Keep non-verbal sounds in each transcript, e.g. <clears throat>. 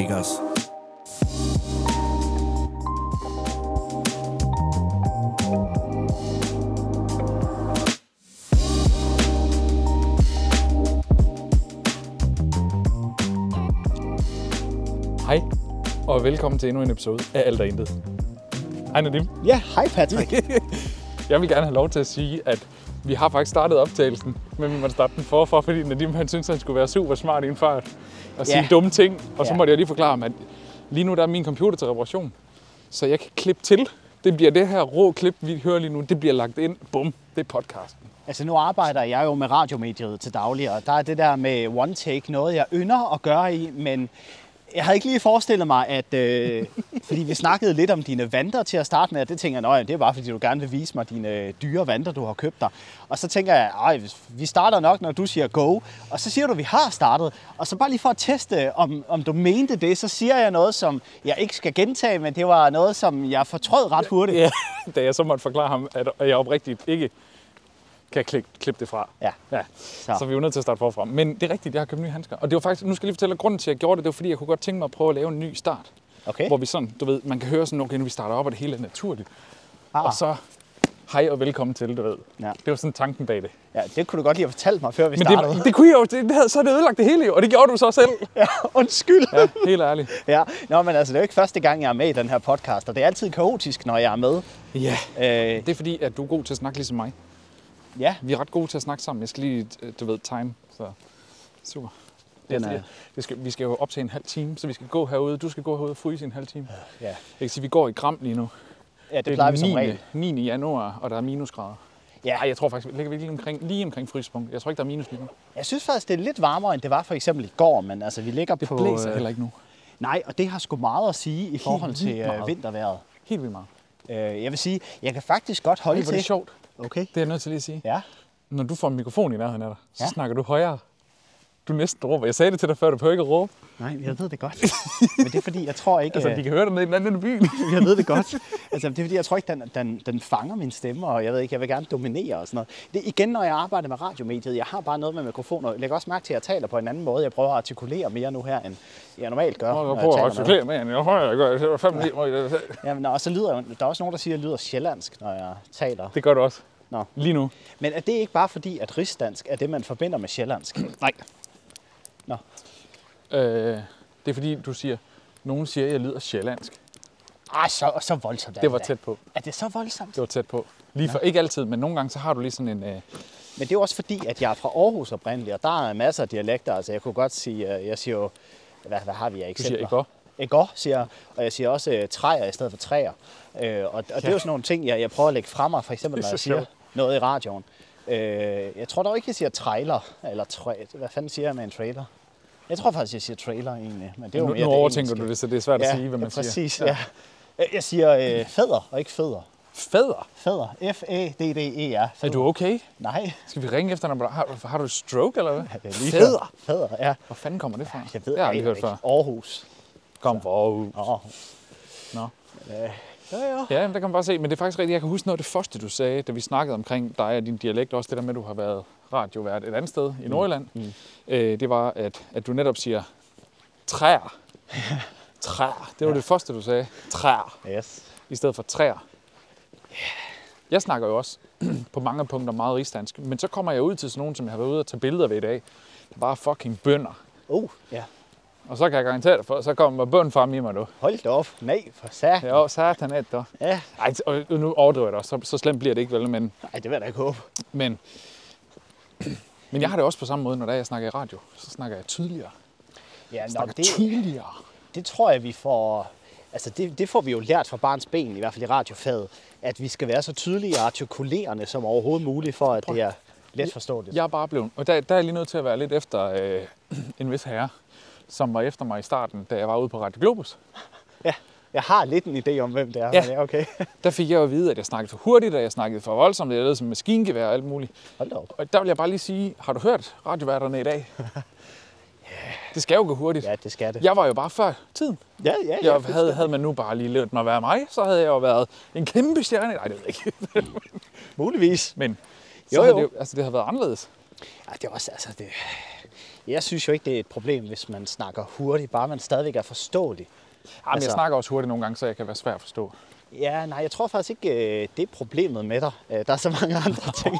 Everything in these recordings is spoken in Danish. Lakers. Hej, og velkommen til endnu en episode af Alt og Intet. Hej Nadim. Ja, hej Patrick. <laughs> Jeg vil gerne have lov til at sige, at vi har faktisk startet optagelsen, men vi måtte starte den forfra, fordi Nadim han synes, han skulle være super smart i en fart og sige Ja. dumme ting. Og så Ja. måtte jeg lige forklare ham, at lige nu der er min computer til reparation, så jeg kan klippe til. Det bliver det her rå klip, vi hører lige nu, det bliver lagt ind. Bum, det er podcasten. altså nu arbejder jeg jo med radiomediet til daglig, og der er det der med one take noget, jeg ynder at gøre i, men jeg havde ikke lige forestillet mig, <laughs> at... Øh, fordi vi snakkede lidt om dine vanter til at starte med, og det tænker jeg, "Nå ja, det er bare fordi, du gerne vil vise mig dine øh, dyre vanter, du har købt dig. Og så tænker jeg, Ej, vi starter nok, når du siger go, og så siger du, vi har startet. Og så bare lige for at teste, om, om du mente det, så siger jeg noget, som jeg ikke skal gentage, men det var noget, som jeg fortrød ret hurtigt. Ja, <laughs> da jeg så måtte forklare ham, at jeg oprigtigt ikke kan klikke, klippe det fra. Ja. Ja, så. så vi er jo nødt til at starte forfra. Men det er rigtigt, jeg har købt nye handsker. Og det var faktisk, nu skal jeg lige fortælle, at grunden til, at jeg gjorde det, det var, fordi jeg kunne godt tænke mig at prøve at lave en ny start. Okay. Hvor vi sådan, du ved, man kan høre sådan, okay, nu vi starter op, og det hele er naturligt. Ah. Og så, hej og velkommen til, du ved. Ja. Det var sådan tanken bag det. Ja, det kunne du godt lige have fortalt mig, før vi Men startede. det, det kunne jeg jo, det, det havde, så havde det ødelagt det hele jo, og det gjorde du så selv. <laughs> Ja, <laughs> undskyld. Ja. Ja, helt ærligt. ja. Nå, men altså, det er jo ikke første gang, jeg er med i den her podcast, og det er altid kaotisk, når jeg er med. Ja. Øh, Det er fordi, at du er god til at snakke ligesom mig. ja, Vi er ret gode til at snakke sammen. Jeg skal lige, øh, du ved, time. Så super. Det Den er, er- det, det skal, vi skal jo op til en halv time, så vi skal gå herude. Du skal gå herude og fryse i en halv time. ja. Jeg kan sige, vi går i gram lige nu. ja det, det plejer vi som den regel. 9. 9. januar, og der er minusgrader. Ja. Ej, jeg tror faktisk, vi ligger vi lige omkring, lige omkring frysepunkt. Jeg tror ikke, der er minus lige nu. Jeg synes faktisk, det er lidt varmere, end det var for eksempel i går, men altså, vi ligger Det på... blæser øh, heller ikke nu. Nej, og det har sgu meget at sige i forhold vildt til øh, meget. vinterværet. Helt vildt meget. Øh, jeg vil sige, jeg kan faktisk godt holde Ej, hvor er til... det sjovt. Okay. Det er jeg nødt til lige at sige. Ja. Når du får en mikrofon i nærheden af dig, så Ja. snakker du højere. Du næsten råber. Jeg sagde det til dig før, du behøver ikke at råbe. Nej, jeg ved det <laughs> godt. men det er fordi, jeg tror ikke... Altså, øh, de kan høre dig ned i den anden ende af <laughs> byen. jeg ved det godt. Altså, det er fordi, jeg tror ikke, den, den, den fanger min stemme, og jeg ved ikke, jeg vil gerne dominere og sådan noget. Det er igen, når jeg arbejder med radiomediet, jeg har bare noget med mikrofoner. Jeg lægger også mærke til, at jeg taler på en anden måde. Jeg prøver at artikulere mere nu her, end jeg normalt gør. Nå, når jeg prøver at taler med artikulere dig. med hende. Jeg hører, jeg gør. Jeg sætter fem lige mod det. Jamen, og så lyder jeg, jo- der er også nogen, der siger, at jeg lyder sjællandsk, når jeg taler. Det gør du også. Nå. Lige nu. Men er det ikke bare fordi, at rigsdansk er det, man forbinder med sjællandsk? Nej. Nå. Øh, det er fordi, du siger, nogen siger, at jeg lyder sjællandsk. Ah, så, så voldsomt er Det var da. tæt på. Er det så voldsomt? Det var tæt på. Lige for, ikke altid, men nogle gange, så har du lige sådan en... Øh, Men det er jo også fordi, at jeg er fra Aarhus oprindeligt, og der er masser af dialekter. Altså, jeg kunne godt sige, øh, jeg siger jo, hvad, hvad har vi af du eksempler? siger ikke godt. Egor, siger jeg, og jeg siger også øh, træer i stedet for træer. Øh, og, og det er jo sådan nogle ting, jeg, jeg prøver at lægge fra mig, for <laughs> eksempel Det er når jeg så siger sjovt. noget i radioen. Øh, jeg tror dog ikke, jeg siger trailer, eller træ, hvad fanden siger jeg med en trailer? Jeg tror faktisk, jeg siger trailer egentlig, men det er jo Nu, mere nu overtænker engelske. du det, så det er svært at ja, sige, hvad man ja, siger. præcis, ja. ja. Jeg siger øh, fædder, og ikke fædder. Fader? Fædder. F-A-D-D-E-R. Er du okay? Nej. <laughs> Skal vi ringe efter dig? Har, har du et stroke, eller hvad? det er lige før. Fader? Fædder, ja. Hvor fanden kommer det fra? Jeg ved det har jeg aldrig hørt ikke. før. Aarhus. Kom forud. Åh, Nå. ja, ja. Ja, men der kan man bare se. Men det er faktisk rigtigt. Jeg kan huske noget af det første, du sagde, da vi snakkede omkring dig og din dialekt. Også det der med, at du har været radiovært et andet sted i Nordjylland. Mm. Øh, det var, at, at du netop siger <laughs> træer. Træer. Det var ja. det første, du sagde. Træer. Yes. I stedet for træer. Jeg snakker jo også <clears throat> på mange punkter meget rigsdansk. Men så kommer jeg ud til sådan nogen, som jeg har været ude og tage billeder ved i dag. Der bare er fucking bønder. Uh, ja. Og så kan jeg garantere dig for, så kommer bøn frem i mig nu. Hold da op. Nej, for sat. Ja, satan et dog. Ja. Ej, og nu overdriver jeg det også. Så, så slemt bliver det ikke, vel? Men, Ej, det vil jeg da ikke håbe. Men, <clears throat> men jeg har det også på samme måde, når det er, jeg snakker i radio. Så snakker jeg tydeligere. Ja, Jeg nå, snakker det, tydeligere. det tror jeg, vi får... Altså, det, det får vi jo lært fra barns ben, i hvert fald i radiofaget, at vi skal være så tydelige og artikulerende som overhovedet muligt, for at det er let forståeligt. Jeg er bare blevet... Og der, der er jeg lige nødt til at være lidt efter øh, <clears throat> en vis herre, som var efter mig i starten, da jeg var ude på Radio Globus. Ja, jeg har lidt en idé om, hvem det er, Ja. ja. men ja, okay. <laughs> Der fik jeg jo at vide, at jeg snakkede for hurtigt, og jeg snakkede for voldsomt, og jeg lød som maskingevær og alt muligt. Hold da op. Og der vil jeg bare lige sige, har du hørt radioværterne i <laughs> dag? Det skal jo gå hurtigt. Ja, det skal det. Jeg var jo bare før tiden. ja, ja. ja. Jeg havde, havde man nu bare lige lavet mig være mig, så havde jeg jo været en kæmpe stjerne. Nej, det ved jeg ikke. Muligvis. Men Jo, så jo, jo. jo. Det, jo- altså, det har været anderledes. Ja, det er også, altså det... Jeg synes jo ikke, det er et problem, hvis man snakker hurtigt, bare man stadigvæk er forståelig. Jamen, altså... Altså- Jeg snakker også hurtigt nogle gange, så jeg kan være svær at forstå. Ja, nej, jeg tror faktisk ikke, øh, det er problemet med dig. Øh, Der er så mange andre ting.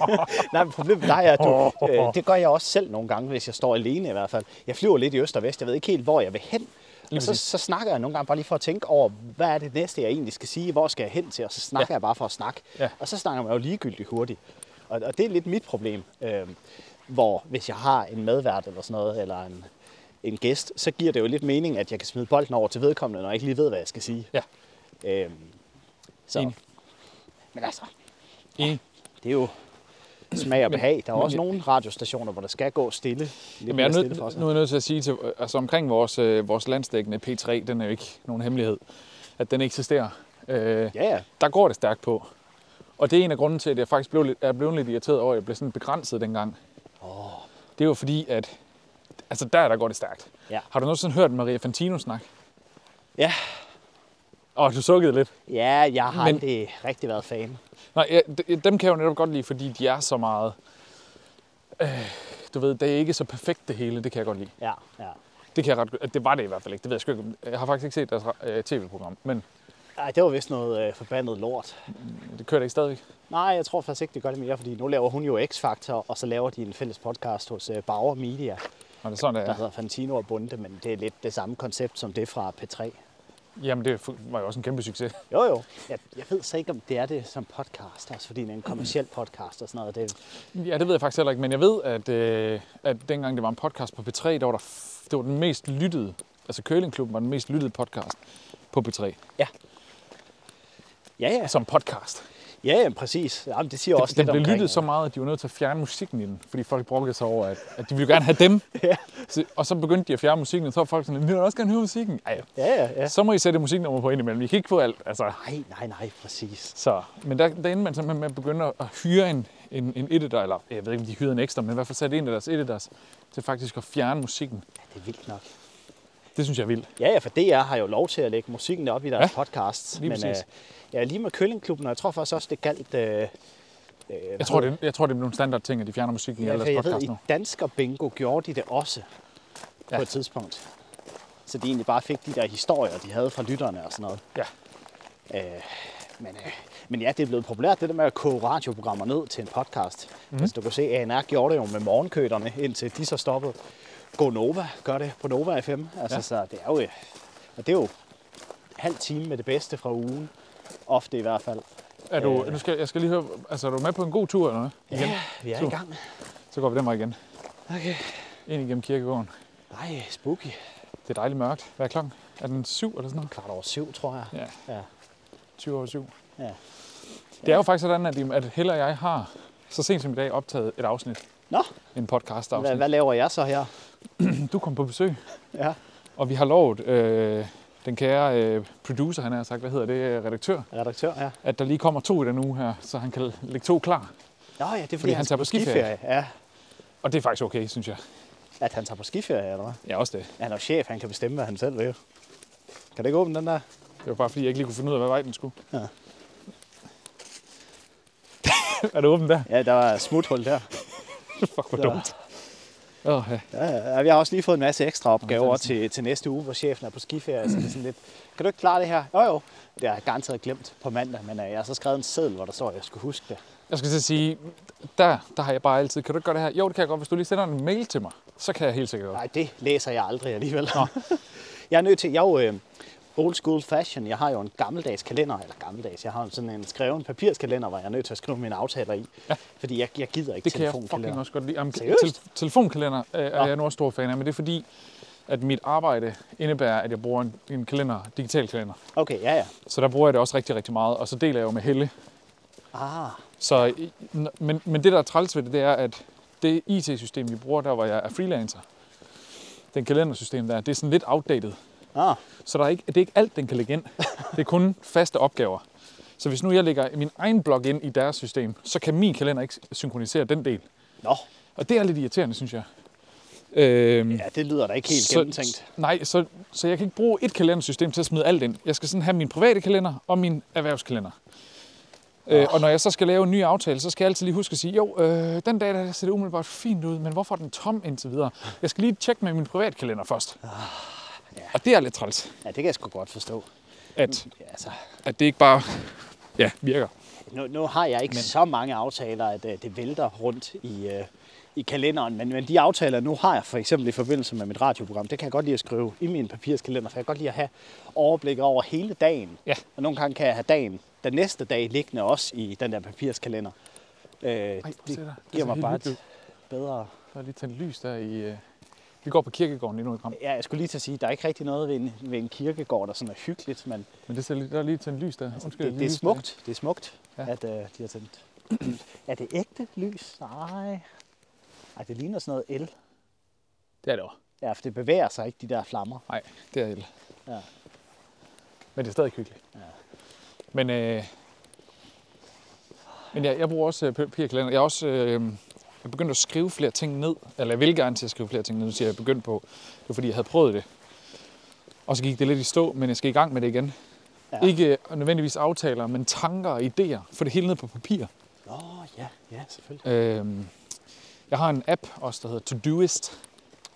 nej, men problemet med dig er, at du, øh, det gør jeg også selv nogle gange, hvis jeg står alene i hvert fald. Jeg flyver lidt i øst og vest, jeg ved ikke helt, hvor jeg vil hen. Og så, så snakker jeg nogle gange bare lige for at tænke over, hvad er det næste, jeg egentlig skal sige, hvor skal jeg hen til, og så snakker ja. jeg bare for at snakke. Ja. Og så snakker man jo ligegyldigt hurtigt. Og, og det er lidt mit problem, øh, hvor hvis jeg har en medvært eller sådan noget, eller en, en gæst, så giver det jo lidt mening, at jeg kan smide bolden over til vedkommende, når jeg ikke lige ved, hvad jeg skal sige. Ja, Øhm, så. Enig. Men altså, enig. det er jo smag og behag. Der er men- også nogle radiostationer, hvor der skal gå stille. Lidt Jamen, mere jeg er stille for nødt, sig. nu er jeg nødt til at sige, til, altså omkring vores, øh, vores landstækkende P3, den er jo ikke nogen hemmelighed, at den eksisterer. Øh, Ja, ja. der går det stærkt på. Og det er en af grunden til, at jeg faktisk blev lidt, er blevet lidt irriteret over, at jeg blev sådan begrænset dengang. Oh. Det er jo fordi, at altså der, der går det stærkt. Ja. Har du nogensinde hørt Maria Fantino snakke? Ja, Åh, du sukkede lidt. ja jeg har Men- men... aldrig rigtig været fan. Nej, ja, d- dem kan jeg jo netop godt lide, fordi de er så meget... Øh, du ved, det er ikke så perfekt det hele, det kan jeg godt lide. Ja, ja. Det, kan jeg ret, det var det i hvert fald ikke, det ved jeg sgu ikke. Jeg har faktisk ikke set deres øh, tv-program, men Ej, det var vist noget øh, forbandet lort. det kører det ikke stadigvæk. Nej, jeg tror faktisk ikke, det gør det mere, fordi nu laver hun jo X-Factor, og så laver de en fælles podcast hos øh, Bauer Media, Og det er sådan, det der er. altså. hedder Fantino og Bunde, men det er lidt det samme koncept som det fra P3. Jamen, det fu- var jo også en kæmpe succes. Jo, jo. Jeg, jeg ved så ikke, om det er det som podcast, også fordi det er en kommersiel podcast og sådan noget. Det, Ja, det ved jeg faktisk heller ikke, men jeg ved, at, øh, at dengang det var en podcast på P3, der var der, f- det var den mest lyttede, altså Curlingklubben var den mest lyttede podcast på P3, Ja. Ja, ja. som podcast. Ja, ja, præcis. Jamen, det siger også den lidt blev omkring, lyttet så meget, at de var nødt til at fjerne musikken i den, fordi folk brokkede sig over, at, at de ville gerne have dem. Ja. Så, og så begyndte de at fjerne musikken, og så var folk sådan, vi vil også gerne høre musikken. Ej, Ja, ja, ja. så må I sætte musiknummer på indimellem. I kan ikke få alt. Altså, Nej, nej, nej, præcis. så, men der, der endte man simpelthen med at begynde at- at hyre en, en, en editor, eller jeg ved ikke, om de hyrede en ekstra, men i hvert fald satte en af deres editors til faktisk at fjerne musikken. Ja, det er vildt nok. Det synes jeg er vildt. Ja, ja, for DR har jo lov til at lægge musikken op i deres Ja, ja, podcast. lige men, øh, præcis. ja, lige med Køllingklubben, og jeg tror faktisk også, det galt... Øh, Jeg tror, det, jeg tror, det er nogle standard ting, at de fjerner musikken i Ja, alle for deres jeg ved, podcast i nu. Dansker Bingo gjorde de det også ja. Ja. på et tidspunkt. Så de egentlig bare fik de der historier, de havde fra lytterne og sådan noget. Ja. Men, øh, men ja, det er blevet populært, det der med at koge radioprogrammer ned til en podcast. Mm. Altså, du kan se, at ANR gjorde det jo med morgenkøderne, indtil de så stoppede. Go Nova gør det på Nova FM. Altså, Ja. ja. så det er jo, øh, og det er jo halv time med det bedste fra ugen. Ofte i hvert fald. Er du, Øh. nu skal, jeg skal lige høre, altså er du med på en god tur eller noget? Igen? Ja, vi er i Super. gang. Så går vi den vej igen. Okay. Ind igennem kirkegården. Ej, spooky. Det er dejligt mørkt. Hvad er klokken? Er den syv eller sådan noget? Kvart over syv, tror jeg. Ja, Ja. 20 over syv. ja. Det er jo faktisk sådan, at, at Helle og jeg har så sent som i dag optaget et afsnit. Nå, En hvad, podcast-afsnit. hvad laver jeg så her? Du kom på besøg. Ja, Og vi har lovet øh, den kære øh, producer, han har sagt, hvad hedder det, øh, redaktør, redaktør, ja. at der lige kommer to i den uge her, så han kan lægge to klar. Nå ja, det er fordi, han skal tager på skiferie. Ja, Og det er faktisk okay, synes jeg. at han tager på skiferie, eller hvad? Ja, også det. Han er jo chef, han kan bestemme, hvad han selv vil. Kan det ikke åbne den der? Det var bare fordi, jeg ikke lige kunne finde ud af, hvad vej den skulle. Ja. <laughs> er det åbent der? Ja, der var et smuthul der. Fuck, hvor Så- dumt. Åh, ja. Ja, ja, ja, vi har også lige fået en masse ekstra opgaver til, til næste uge, hvor chefen er på skiferie. Så det er sådan lidt, kan du ikke klare det her? Jo jo, det har jeg garanteret glemt på mandag, men øh, jeg har så skrevet en seddel, hvor der står, at jeg skulle huske det. Jeg skal til at sige, der, der har jeg bare altid, kan du ikke gøre det her? Jo, det kan jeg godt. Hvis du lige sender en mail til mig, så kan jeg helt sikkert godt. Nej, det læser jeg aldrig alligevel. <laughs> jeg er nødt til, jeg er jo øh, old school fashion, jeg har jo en gammeldags kalender, eller gammeldags, jeg har sådan en skreven papirskalender, hvor jeg er nødt til at skrive mine aftaler i. Ja. Fordi jeg, jeg gider ikke Det kan jeg fucking telefonkalender. også godt lide. Jamen, Seriøst? tel- telefonkalender øh, er Nå. jeg nu også stor fan af, men det er fordi, at mit arbejde indebærer, at jeg bruger en, en kalender, digital kalender. Okay, ja ja. Så der bruger jeg det også rigtig, rigtig meget, og så deler jeg jo med Helle. Ah, Så, øh, n- men, men det, der er træls ved det, det er, at det IT-system, vi bruger, der hvor jeg er freelancer, den kalendersystem der, det er sådan lidt outdated. ah. Så der er ikke, det er ikke alt, den kan lægge ind. Det er kun faste opgaver. Så hvis nu jeg lægger min egen blog ind i deres system, så kan min kalender ikke synkronisere den del. Nå, Og det er lidt irriterende, synes jeg. Øhm, ja, det lyder da ikke helt så- gennemtænkt. Nej, så, så jeg kan ikke bruge et kalendersystem til at smide alt ind. Jeg skal sådan have min private kalender og min erhvervskalender. Øh, Ah. og når jeg så skal lave en ny aftale, så skal jeg altid lige huske at sige, jo, øh, den dag der ser det umiddelbart fint ud, men hvorfor er den tom indtil videre? Jeg skal lige tjekke med min privatkalender først. Ah, Og det er lidt træls, Ja, det kan jeg sgu godt forstå. at, Ja, altså, at det ikke bare ja, virker. nu, nu har jeg ikke men. så mange aftaler, at øh, det vælter rundt i, øh, i kalenderen, men, men de aftaler, nu har jeg for eksempel i forbindelse med mit radioprogram, det kan jeg godt lide at skrive i min papirskalender, for jeg kan godt lide at have overblik over hele dagen. Ja. Og nogle gange kan jeg have dagen den næste dag liggende også i den der papirskalender. Øh, Ej, hvor ser der- det det ser giver mig helt bare vildt ud. et bedre... Der er lige tændt lys der i... Øh, vi går på kirkegården lige nu i kamp. Ja, jeg skulle lige til at sige, der er ikke rigtig noget ved en, ved en kirkegård, der sådan er hyggeligt, men Men det ser, lige- der er lige tændt lys der. Undskyld, det, lige det er lys der. smukt, det er smukt, Ja. ja. at øh, de har tændt lys. Er det ægte lys? Nej. Ej, det ligner sådan noget el. Det er det også. Ja, for det bevæger sig ikke, de der flammer. Nej, det er el. Ja. Men det er stadig hyggeligt. Ja. Men, øh, men jeg, jeg bruger også øh, papirkalender. Jeg er også øh, jeg begyndte at skrive flere ting ned. Eller jeg vil gerne til at skrive flere ting ned. Nu siger jeg, jeg begyndt på. Det var fordi, jeg havde prøvet det. Og så gik det lidt i stå, men jeg skal i gang med det igen. Ja. Ja. Ikke øh, nødvendigvis aftaler, men tanker og idéer. Få det hele ned på papir. Nå, ja, ja, selvfølgelig. Øh, jeg har en app også, der hedder Todoist,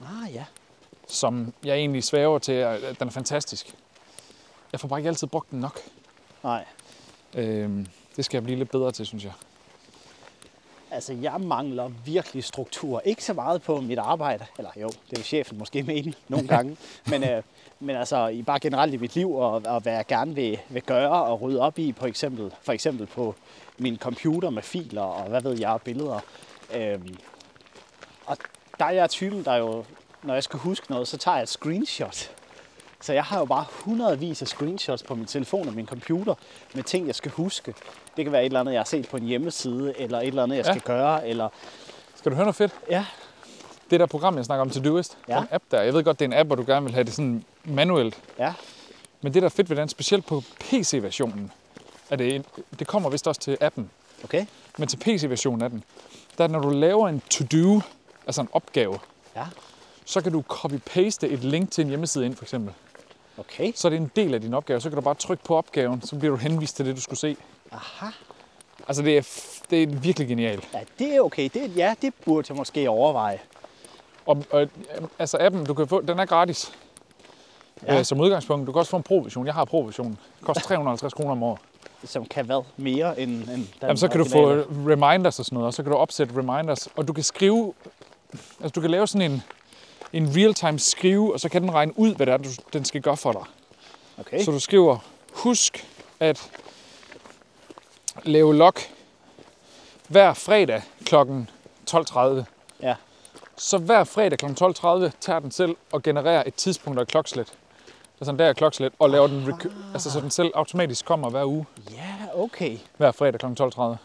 Ah, ja. som jeg egentlig svæver til, at at den er fantastisk. Jeg får bare ikke altid brugt den nok. Nej, Øhm, det skal jeg blive lidt bedre til, synes jeg. altså jeg mangler virkelig struktur. Ikke så meget på mit arbejde, eller jo, det er chefen måske <laughs> mene nogle gange, men, øh, men altså i bare generelt i mit liv, og, og hvad jeg gerne vil, vil gøre og rydde op i, for eksempel, for eksempel på min computer med filer og hvad ved jeg, og billeder. Øhm, og der er jeg typen, der jo, når jeg skal huske noget, så tager jeg et screenshot. Så jeg har jo bare hundredvis af screenshots på min telefon og min computer med ting, jeg skal huske. Det kan være et eller andet, jeg har set på en hjemmeside, eller et eller andet, jeg Ja. skal gøre. Eller... Skal du høre noget fedt? Ja, Det der program, jeg snakker om, Todoist, Ja. den app der. Jeg ved godt, det er en app, hvor du gerne vil have det sådan manuelt. ja. Men det, der er fedt ved den, specielt på PC-versionen, er det, en, det kommer vist også til appen, Okay. men til PC-versionen af den, der er, når du laver en to-do, altså en opgave, Ja. så kan du copy-paste et link til en hjemmeside ind, for eksempel. Okay. Så er det en del af din opgave, så kan du bare trykke på opgaven, så bliver du henvist til det, du skulle se. Aha. Altså, det er, f- det er virkelig genialt. Ja, det er okay. Det, ja, det burde jeg måske overveje. Og, og øhm, altså appen, du kan få, den er gratis. Ja. Ja. Øh, som udgangspunkt. Du kan også få en pro-version. Jeg har pro-versionen. Det <laughs> koster 350 kroner om året. Som kan hvad mere end, end den Jamen, så kan du få øh, reminders og sådan noget, og så kan du opsætte reminders. Og du kan skrive... Altså, du kan lave sådan en, en real-time skrive, og så kan den regne ud, hvad det er, du, den skal gøre for dig. Okay. Så du skriver, husk at lave log hver fredag kl. 12.30. Ja. Så hver fredag kl. 12.30 tager den selv og genererer et tidspunkt og et klokslet. Altså en dag og klokslet, og laver den, rec- altså så den selv automatisk kommer hver uge, ja, okay. hver fredag kl. 12.30. Nå,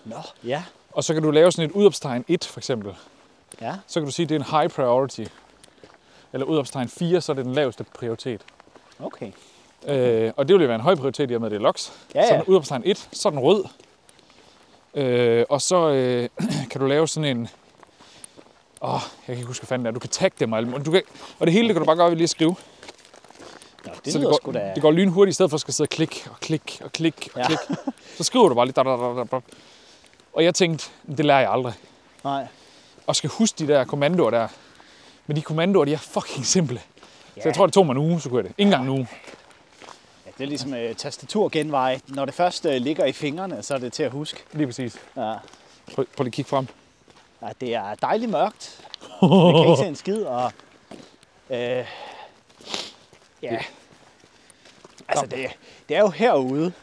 ja. Og så kan du lave sådan et udopstegn 1, for eksempel. Ja, Så kan du sige, at det er en high priority. Eller udopstegn 4, så er det den laveste prioritet. okay. Øh, og det ville jo være en høj prioritet i og med, at det er LOX. Ja, Så ja. er den udopstegn 1, så er den rød. Øh, og så øh, <clears throat> kan du lave sådan en... Åh, oh, jeg kan ikke huske, hvad fanden det er. Du kan tagge dem og alt muligt. Du kan, og det hele det kan du bare gøre ved lige at skrive. Nå, det så lyder det går, sgu da... det går lynhurtigt, i stedet for at skal sidde og klikke og klikke og klikke og Ja. klikke. Så skriver du bare lige... Da, da, da, da, da. Og jeg tænkte, det lærer jeg aldrig. Nej. Og skal huske de der kommandoer der. Men de kommandoer, de er fucking simple. Så jeg tror, det tog mig en uge, så kunne jeg det. Ingen engang en uge. Ja, det er ligesom øh, tastaturgenveje. Når det først øh, ligger i fingrene, så er det til at huske. Lige præcis. Ja. Prøv, prøv lige at kigge frem. Ja, det er dejligt mørkt. Man kan ikke se en skid, og... Øh, ja. Altså, det, det er jo herude,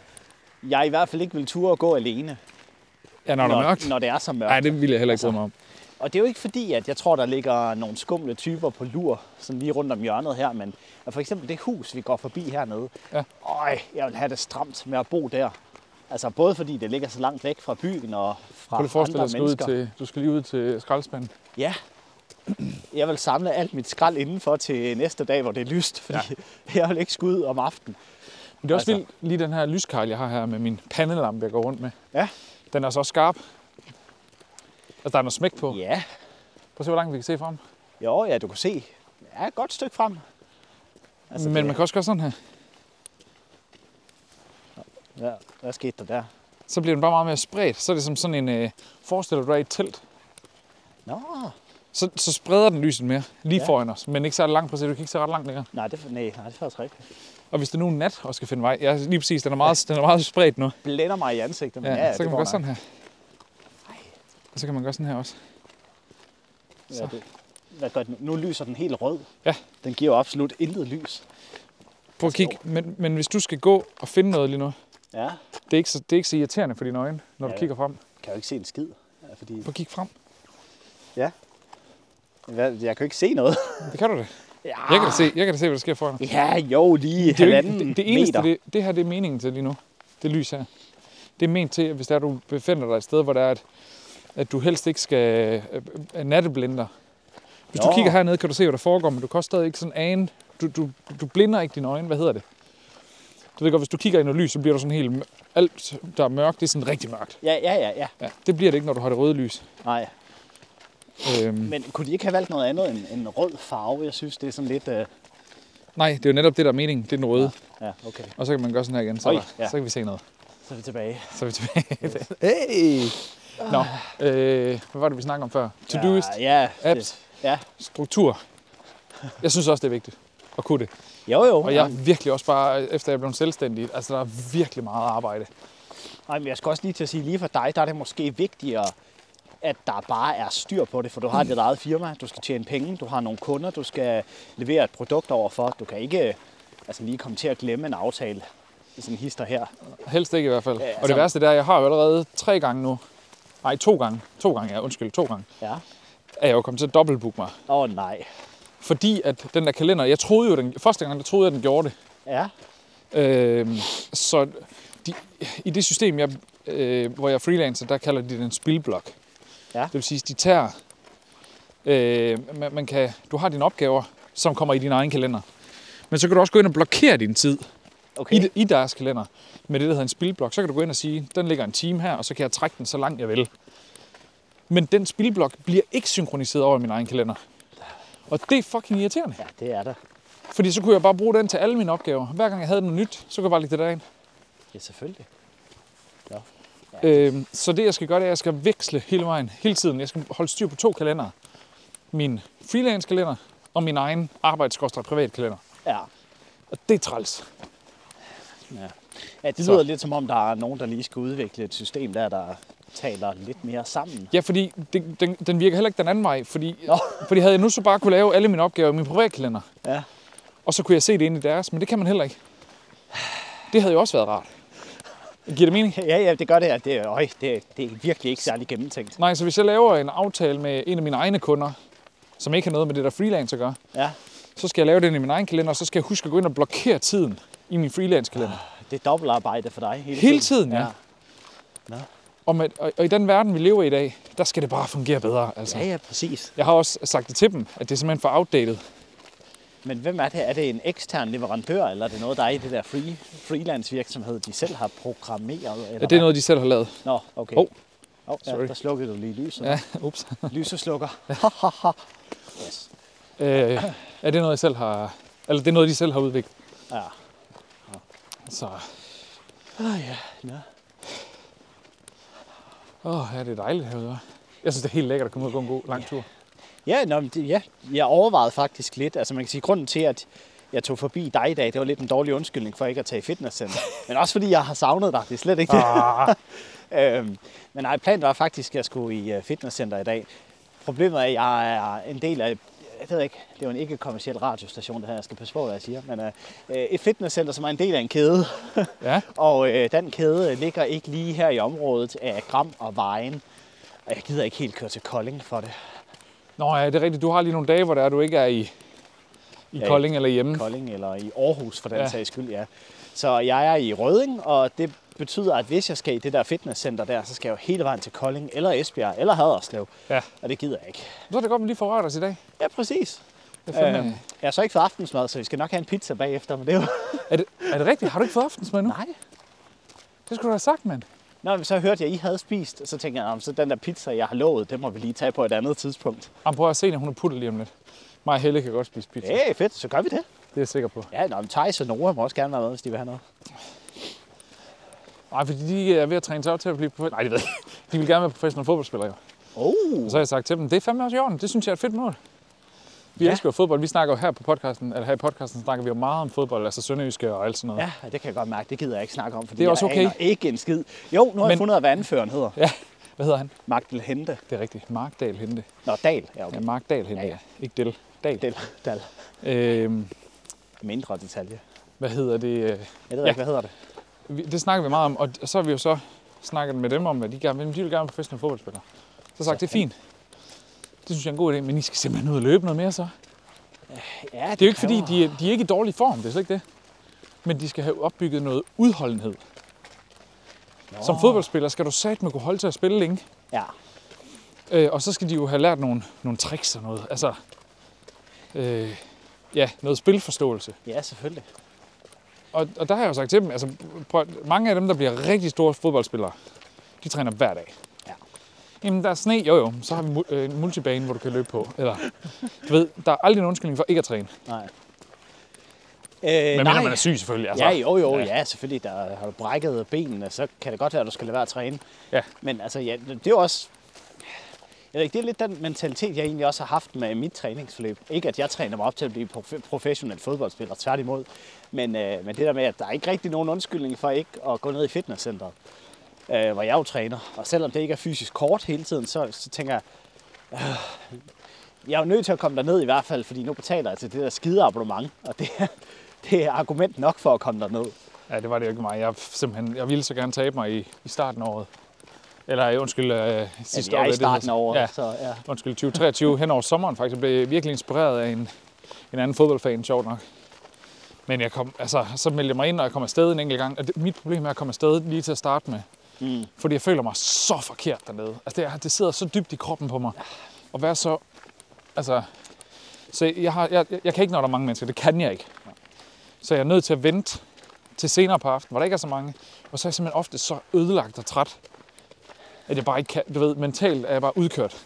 jeg i hvert fald ikke vil ture at gå alene, Ja, når, når det er mørkt. når det er så mørkt. Nej, det ville jeg heller ikke bryde mig om. Og det er jo ikke fordi, at jeg tror, der ligger nogle skumle typer på lur, sådan lige rundt om hjørnet her, men at for eksempel det hus, vi går forbi hernede, Ja. øj, jeg vil have det stramt med at bo der. Altså både fordi det ligger så langt væk fra byen og fra Prøv lige at forestille dig, at andre du skal ud mennesker. til, du skal lige ud til skraldespanden. Ja. Jeg vil samle alt mit skrald indenfor til næste dag, hvor det er lyst, fordi ja. <laughs> jeg vil ikke skulle ud om aftenen. Men det er også Altså. altså. lige, lige den her lyskarl, jeg har her med min pandelampe, jeg går rundt med. Ja. Den er så skarp. Altså, der er noget smæk på. Yeah. Ja, Prøv at se, hvor langt vi kan se frem. jo, ja, du kan se. Ja, et godt stykke frem. Altså, Men man kan også gøre sådan her. Ja, hvad skete der der? så bliver den bare meget mere spredt. Så er det som sådan en, øh, forestil dig, du er i et telt. Nå, Så, så spreder den lyset mere, lige Ja. ja. foran os, men ikke så langt, præcis. du kan ikke se ret langt længere. nej, det, nej, nej, det er faktisk rigtigt. Og hvis det nu er nat og skal finde vej, ja, lige præcis, den er meget, den er meget spredt nu. Blænder mig i ansigtet, men Ja, ja, ja så det kan man går gøre nok. sådan her. Og så kan man gøre sådan her også. Ja, det, hvad gør den? Nu lyser den helt rød. Ja. Den giver jo absolut intet lys. Prøv Altså, at kigge, men, men hvis du skal gå og finde noget lige nu, Ja, det er ikke så, det er ikke så irriterende for dine øjne, når du Ja. kigger frem. kan jo ikke se en skid. Ja, Fordi, Prøv at kigge frem. ja. Hvad, Jeg kan jo ikke se noget. Det kan du det. Ja, Jeg kan da se, jeg kan da se hvad der sker foran dig. ja jo, lige Det, er jo Ah. halvanden ikke, det, det eneste, meter. det, det her det er meningen til lige nu, det lys her. Det er ment til, at hvis der du befinder dig et sted, hvor der er, at, at du helst ikke skal øh, øh, natteblænder. Hvis Nå. Nå. du kigger hernede, kan du se, hvad der foregår, men du kan også stadig ikke sådan ane. Du, du, du blinder ikke dine øjne. Hvad hedder det? Du ved godt, hvis du kigger i noget lys, så bliver du sådan helt... mør- Alt, der er mørkt, det er sådan rigtig mørkt. Ja, ja, ja, ja. Ja, det bliver det ikke, når du har det røde lys. Nej. Øhm, Men kunne de ikke have valgt noget andet end en rød farve? Jeg synes, det er sådan lidt... Øh... nej, det er jo netop det, der er meningen. Det er den røde. Ja, okay. Og så kan man gøre sådan her igen, så, Oj, er der, ja. så kan vi se noget. Så er vi tilbage. Så er vi <laughs> tilbage. hey! Nå, øh, hvad var det, vi snakkede om før? To-doist, Ja, ja, det- apps. Ja. struktur. Jeg synes også, det er vigtigt at kunne det. Jo, jo. Og jeg er virkelig også bare, efter jeg blev selvstændig, altså der er virkelig meget arbejde. Nej, men jeg skal også lige til at sige, lige for dig, der er det måske vigtigere, at der bare er styr på det, for du har dit eget firma, du skal tjene penge, du har nogle kunder, du skal levere et produkt overfor. Du kan ikke øh, altså lige komme til at glemme en aftale i sådan en hister her. Helst ikke i hvert fald. Ja, Og altså- det værste det er, at jeg har jo allerede tre gange nu, nej to gange, to gange ja, undskyld, to gange, Ja. er jeg jo kommet til at dobbeltbooke mig. Åh oh, nej. Fordi at den der kalender, jeg troede jo, den, første gang, der troede jeg, den gjorde det. Ja. Øh, så de, i det system, jeg, øh, hvor jeg er freelancer, der kalder de den spilblok. Ja. Det vil sige, de tager... Øh, man, man kan, du har dine opgaver, som kommer i din egen kalender. Men så kan du også gå ind og blokere din tid Okay. i, i deres kalender med det, der hedder en spilblok. Så kan du gå ind og sige, den ligger en time her, og så kan jeg trække den så langt jeg vil. Men den spilblok bliver ikke synkroniseret over i min egen kalender. Og det er fucking irriterende. Ja, det er der. Fordi så kunne jeg bare bruge den til alle mine opgaver. Hver gang jeg havde noget nyt, så kunne jeg bare lægge det derind. Ja, selvfølgelig. Øhm, så det, jeg skal gøre, det er, at jeg skal veksle hele vejen, hele tiden. Jeg skal holde styr på to kalendere. Min freelance-kalender og min egen arbejds privat kalender. Ja. Og det er træls. ja det Så. lyder lidt som om, der er nogen, der lige skal udvikle et system, der, der taler lidt mere sammen. Ja, fordi det, den, den virker heller ikke den anden vej. Fordi, Nå. <laughs> fordi havde jeg nu så bare kunne lave alle mine opgaver i min privatkalender, Ja. og så kunne jeg se det inde i deres, men det kan man heller ikke. Det havde jo også været rart. Giver det mening? Ja, ja, det gør det. Ja. Det, er- øj, det, er- det er virkelig ikke særlig gennemtænkt. Nej, så hvis jeg laver en aftale med en af mine egne kunder, som ikke har noget med det, der freelancer gør, Ja. så skal jeg lave den i min egen kalender, og så skal jeg huske at gå ind og blokere tiden i min freelance-kalender. Det er dobbeltarbejde for dig hele, Hele tiden, ja. ja. Og, med, og, og i den verden, vi lever i i dag, der skal det bare fungere bedre. Altså. Ja, ja, præcis. Jeg har også sagt det til dem, at det er simpelthen for outdated. Men hvem er det? Er det en ekstern leverandør, eller er det noget, der er i det der free, freelance virksomhed, de selv har programmeret? Eller At det er hvad? noget, de selv har <laughs> lavet. Nå, okay. Hov. oh, ja, Sorry. der slukkede du lige lyset. Ja. Ja, ups. Lyset slukker. yes. Øh, er det noget, jeg selv har... Eller det er noget, de selv har udviklet. Ja. Så Oh, ja. Nå. åh, ja, det er dejligt herude. hva'? Jeg synes, det er helt lækkert at komme ud og gå en god lang tur. Ja, nå, men det, ja, jeg overvejede faktisk lidt. Altså man kan sige, grunden til, at jeg tog forbi dig i dag, det var lidt en dårlig undskyldning for ikke at tage i fitnesscenter. Men også fordi jeg har savnet dig, det er slet ikke det. Ah, <laughs> Øhm, men nej, planen var faktisk, at jeg skulle i øh, fitnesscenter i dag. Problemet er, at jeg er en del af, jeg ved ikke, det er jo en ikke-kommersiel radiostation, det her, jeg skal passe på, hvad jeg siger, men øh, øh, et fitnesscenter, som er en del af en kæde, ja, og øh, den kæde ligger ikke lige her i området af Gram og Vejen, og jeg gider ikke helt køre til Kolding for det. Nå, ja, det er rigtigt. Du har lige nogle dage, hvor det er, du ikke er i, i Ja, i Kolding eller hjemme. Kolding eller i Aarhus for den ja. Ja. sags skyld, ja. Så jeg er i Røding, og det betyder, at hvis jeg skal i det der fitnesscenter der, så skal jeg jo hele vejen til Kolding, eller Esbjerg, eller Haderslev, Ja. og det gider jeg ikke. Så er det godt, at vi lige får rørt os i dag. Ja, præcis. Det er, fandme, Øhm, jeg har så ikke fået aftensmad, så vi skal nok have en pizza bagefter, men det er jo... er, det, er det rigtigt? Har du ikke fået aftensmad nu? Nej. Det skulle du have sagt, mand. Nå, men så hørte jeg, at I havde spist, og så tænkte jeg, "Nå, men så den der pizza, jeg har lovet, det må vi lige tage på et andet tidspunkt. Jamen, prøv at se, når hun er puttet lige om lidt. Mig og Helle kan godt spise pizza. Ja, hey, fedt, så gør vi det. Det er jeg sikker på. Ja, nå, men Thijs og Nora må også gerne være med, hvis de vil have noget. Nej, fordi de er ved at træne sig op til at blive professionelle. Nej, det ved jeg ikke. <laughs> De vil gerne være professionelle fodboldspillere. Jo. Oh. Og så har jeg sagt til dem, det er fandme også i orden. Det synes jeg er et fedt mål. Vi Ja. ja. elsker jo fodbold. Vi snakker jo her på podcasten, eller her i podcasten snakker vi jo meget om fodbold, altså Sønderjyske og alt sådan noget. Ja, og det kan jeg godt mærke. Det gider jeg ikke snakke om, fordi Det er også jeg okay. aner ikke en skid. Jo, nu har Men... jeg Men- fundet, ud af, hvad anføreren hedder. ja. Hvad hedder han? Magdel Hente. Det er rigtigt. Mark Dahl Hente. Nå, Dal. Ja, okay. Ja, Mark Dahl Hente, Ja, ja. ja. ja. Ikke Del. Dahl. Del, Dal. Øhm, Mindre detalje. hvad hedder det? øh, Jeg ved Ja. ikke, hvad hedder det? Vi- Det snakker vi meget om, og så har vi jo så snakket med dem om, at de, gerne, vil- de vil gerne være professionelle fodboldspillere. Så har jeg sagt, det er fint. Det synes jeg er en god idé, men I skal simpelthen ud og løbe noget mere så. Ja, Det er jo ikke fordi, de er, de er ikke i dårlig form, det er slet ikke det. Men de skal have opbygget noget udholdenhed. Nå. Som fodboldspiller skal du satme kunne holde til at spille længe. Ja. Øh, og så skal de jo have lært nogle, nogle tricks og noget. Altså, øh, ja, noget spilforståelse. ja, selvfølgelig. Og, og der har jeg jo sagt til dem, altså, prøv, at- mange af dem, der bliver rigtig store fodboldspillere, de træner hver dag. Ja. Jamen, der er sne, jo jo, så har vi mu- øh, en multibane, hvor du kan løbe på. Eller, du ved, der er aldrig en undskyldning for ikke at træne. Nej. Øh, Men mindre man er syg, selvfølgelig. altså. Ja, jo, jo, Ja. ja. ja, selvfølgelig. Der har du brækket benene, så kan det godt være, at du skal lade være at træne. Ja. Men altså, ja, det er jo også... Jeg ved ikke, det er lidt den mentalitet, jeg egentlig også har haft med mit træningsforløb. Ikke at jeg træner mig op til at blive prof- professionel fodboldspiller, tværtimod. Men, øh, men det der med, at der er ikke rigtig nogen undskyldning for ikke at gå ned i fitnesscenteret, øh, hvor jeg jo træner. Og selvom det ikke er fysisk kort hele tiden, så, så tænker jeg, øh, jeg er jo nødt til at komme derned i hvert fald, fordi nu betaler jeg til det der skide abonnement, og det er, det er argument nok for at komme derned. Ja, det var det jo ikke mig. Jeg, simpelthen, jeg ville så gerne tabe mig i, i starten af året. Eller øh, undskyld, øh, sidste ja, år. jeg er i hvad det hedder. starten af året, Ja, ja. så ja. undskyld, 2023 hen over sommeren faktisk. Jeg blev virkelig inspireret af en, en anden fodboldfan, sjovt nok. Men jeg kom, altså, så meldte jeg mig ind, og jeg kom afsted en enkelt gang. Og det, mit problem er at komme afsted lige til at starte med. Mm. Fordi jeg føler mig så forkert dernede. Altså, det, er- det sidder så dybt i kroppen på mig. Og være så... Altså... Så jeg, har, jeg, jeg kan ikke, når der er mange mennesker. Det kan jeg ikke. Så jeg er nødt til at vente til senere på aftenen, hvor der ikke er så mange. Og så er jeg simpelthen ofte så ødelagt og træt, at jeg bare ikke kan... Du ved, mentalt er jeg bare udkørt.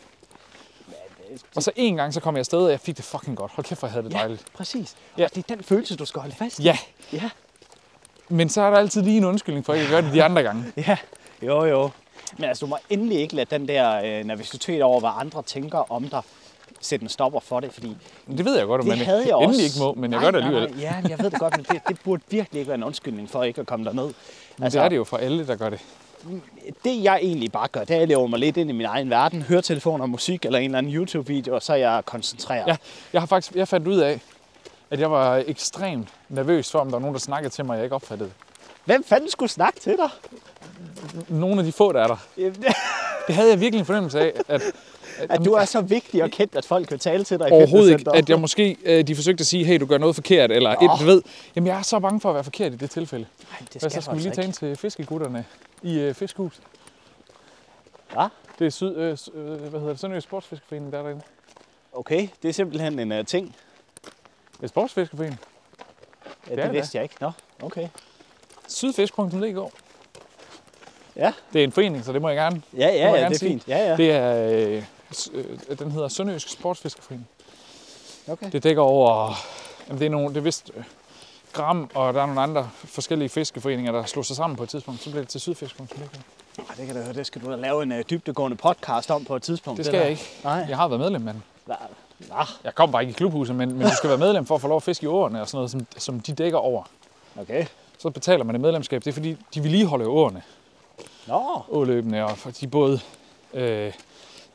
Og så en gang, så kom jeg afsted, og jeg fik det fucking godt. Hold kæft, hvor jeg havde det dejligt. Ja, præcis. Ja. Ja. Og det er den følelse, du skal holde fast i. Ja, ja. men så er der altid lige en undskyldning for, at jeg gør det de andre gange. Ja, jo jo. Men altså, du må endelig ikke lade den der øh, nervøsitet over, hvad andre tænker om dig, sætte en stopper for det, fordi Det ved jeg godt, at det man havde jeg også. endelig ikke må, men jeg gør nej, det alligevel. Nej, nej, ja, men jeg ved det godt, men det, det burde virkelig ikke være en undskyldning for ikke at komme derned. Altså, Men det er det jo for alle, der gør det. det jeg egentlig bare gør, det er, at jeg lever mig lidt ind i min egen verden, høretelefoner, musik eller en eller anden YouTube-video, og så er jeg koncentreret. Ja, jeg har faktisk jeg fandt ud af, at jeg var ekstremt nervøs for, om der var nogen, der snakkede til mig, jeg ikke opfattede. Hvem fanden skulle snakke til dig? Nogle af de få, der er der. Jamen, Det havde jeg virkelig en fornemmelse af, at, <laughs> At du er så vigtig og kendt, at folk kan tale til dig i overhovedet ikke, fitnesscenteret. at jeg måske, øh, de forsøgte at sige, hey, du gør noget forkert, eller et, du ved. Jamen, jeg er så bange for at være forkert i det tilfælde. Ej, Hvad det skal så jeg altså skulle vi faktisk lige tage ikke. ind til fiskegutterne i øh, Fiskehus? Hva? Det er syd, øh, s- øh, hvad hedder det, Sønderjysk Sportsfiskerforening, der er derinde. Okay, det er simpelthen en uh, ting. Det er Sportsfiskerforening. Ja, det, er det det vidste jeg ikke. Nå, okay. Sydfisk.dk. Ja, Det er en forening, så det må jeg gerne ja, ja, jeg ja gerne det er sige. fint. Ja, ja. Det er, øh, s- øh, den hedder Sønderjysk Sportsfiskerforening. Okay. Det dækker over, jamen det er nogle, det er vist øh, Gram, og der er nogle andre forskellige fiskeforeninger, der slog sig sammen på et tidspunkt. Så blev det til Sydfisk.dk. Ej, det kan du høre, det skal du da lave en uh, dybdegående podcast om på et tidspunkt. Det skal der. jeg ikke. Nej. Jeg har været medlem, men Hva? Hva? jeg kom bare ikke i klubhuset, men, men du skal være medlem for at få lov at fiske i åerne og sådan noget, som, som de dækker over. Okay. Så betaler man et medlemskab. Det er fordi, de vedligeholder jo åerne, Nå, åløbene, og for de både øh,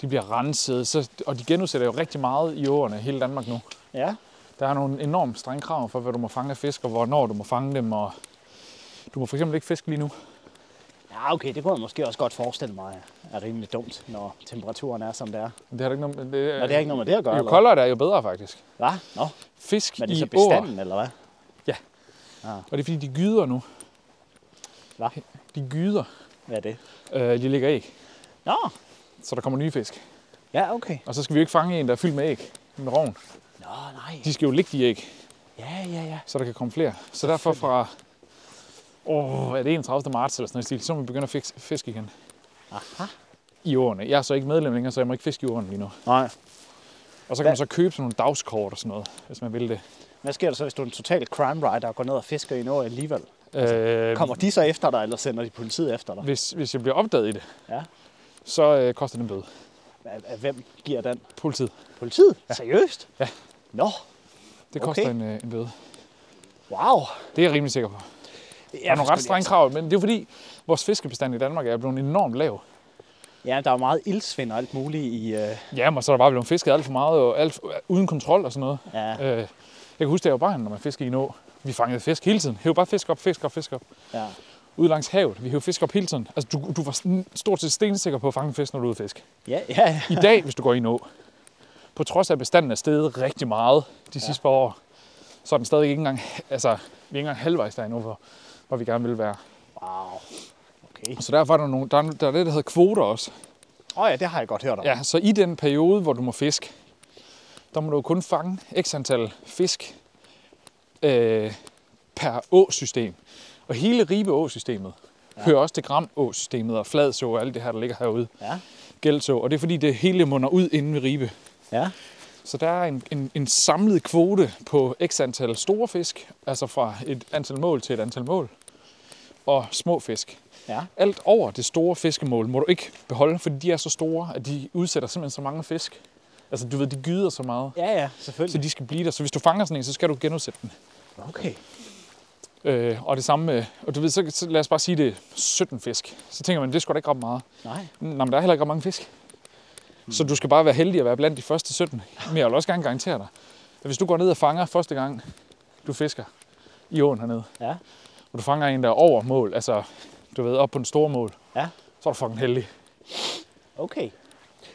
de bliver renset, så, og de genudsætter jo rigtig meget i åerne i hele Danmark nu. ja. Der er nogle enormt strenge krav for, hvad du må fange af fisk, og hvornår du må fange dem. Og du må for eksempel ikke fiske lige nu. Ja, okay, det kunne jeg måske også godt forestille mig er rimelig dumt, når temperaturen er, som det er. Men Det har du ikke noget, med- det, Nå, det har ikke noget med det at gøre, Jo eller koldere Øh, det er, jo bedre faktisk. Hva? Nå, Fisk men det er i så år, bestanden, eller hvad? og det er fordi, de gyder nu. Hva? De gyder. Hvad er det? Øh, de ligger æg, Nå, så der kommer nye fisk. ja, okay. Og så skal vi jo ikke fange en, der er fyldt med æg. En rovn. Nå, nej. De skal jo ligge de æg, Ja, ja, ja. så der kan komme flere. Så derfor fra åh, er det 31. marts eller sådan noget stil, så må vi begynde at fiske, fiske igen Aha. i årene. Jeg er så ikke medlem længere, så jeg må ikke fiske i årene lige nu. Nej. Og så kan Hvad- man så købe sådan nogle dagskort og sådan noget, hvis man vil det. Hvad sker der så, hvis du er en total crime rider og går ned og fisker i en år alligevel? Øh, Altså, Kommer de så efter dig, eller sender de politiet efter dig? hvis, hvis jeg bliver opdaget i det, Ja. så øh, koster det en bøde. Af- af Hvem giver den? Politiet. Politiet? Ja. Seriøst? Ja. Nå, Det Okay. koster en, øh, en bøde. wow. Det er jeg rimelig sikker på. Der er nogle ret altså. strenge krav, men det er fordi, vores fiskebestand i Danmark er blevet enormt lav. Ja, der er jo meget ildsvind og alt muligt i... Øh, Jamen, og så er der bare blevet fisket alt for meget, og alt uden kontrol og sådan noget. ja. Øh, jeg kan huske, da jeg var barn, når man fiskede i en å. Vi fangede fisk hele tiden. Hæv bare fisk op, fisk op, fisk op. ja. Ude langs havet. Vi hævde fisk op hele tiden. Altså, du, du var sådan stort set stensikker på at fange en fisk, når du er ude at fiske. Ja, ja, I dag, hvis du går i en å, på trods af, at bestanden er steget rigtig meget de sidste par år, så er den stadig ikke engang, altså, vi er ikke engang halvvejs der endnu, hvor, hvor vi gerne vil være. Wow. Okay. Så derfor er der, nogle, der, er, der er det, der hedder kvoter også. Åh oh ja, det har jeg godt hørt om. Ja, så i den periode, hvor du må fiske, der må du jo kun fange x antal fisk øh, per åsystem. Og hele Ribe åsystemet ja. hører også til Gram åsystemet og Fladså og alt det her, der ligger herude. Ja. Gældså. Og det er fordi, det hele munder ud inde ved Ribe. ja. Så der er en, en, en samlet kvote på x antal store fisk, altså fra et antal mål til et antal mål, og små fisk. ja. Alt over det store fiskemål må du ikke beholde, fordi de er så store, at de udsætter simpelthen så mange fisk. Altså, du ved, de gyder så meget, Ja, ja, så selvfølgelig. de skal blive der. Så hvis du fanger sådan en, så skal du genudsætte den. Okay. Øh, og det samme med, og du ved, så, så lad os bare sige, det er 17 fisk. Så tænker man, det skulle da ikke ret meget. Nej. Nå, men der er heller ikke ret mange fisk. Så du skal bare være heldig at være blandt de første 17. Men jeg vil også gerne garantere dig, at hvis du går ned og fanger første gang, du fisker i åen hernede, Ja. og du fanger en, der er over mål, altså du ved, op på en stor mål, Ja. så er du fucking heldig. Okay.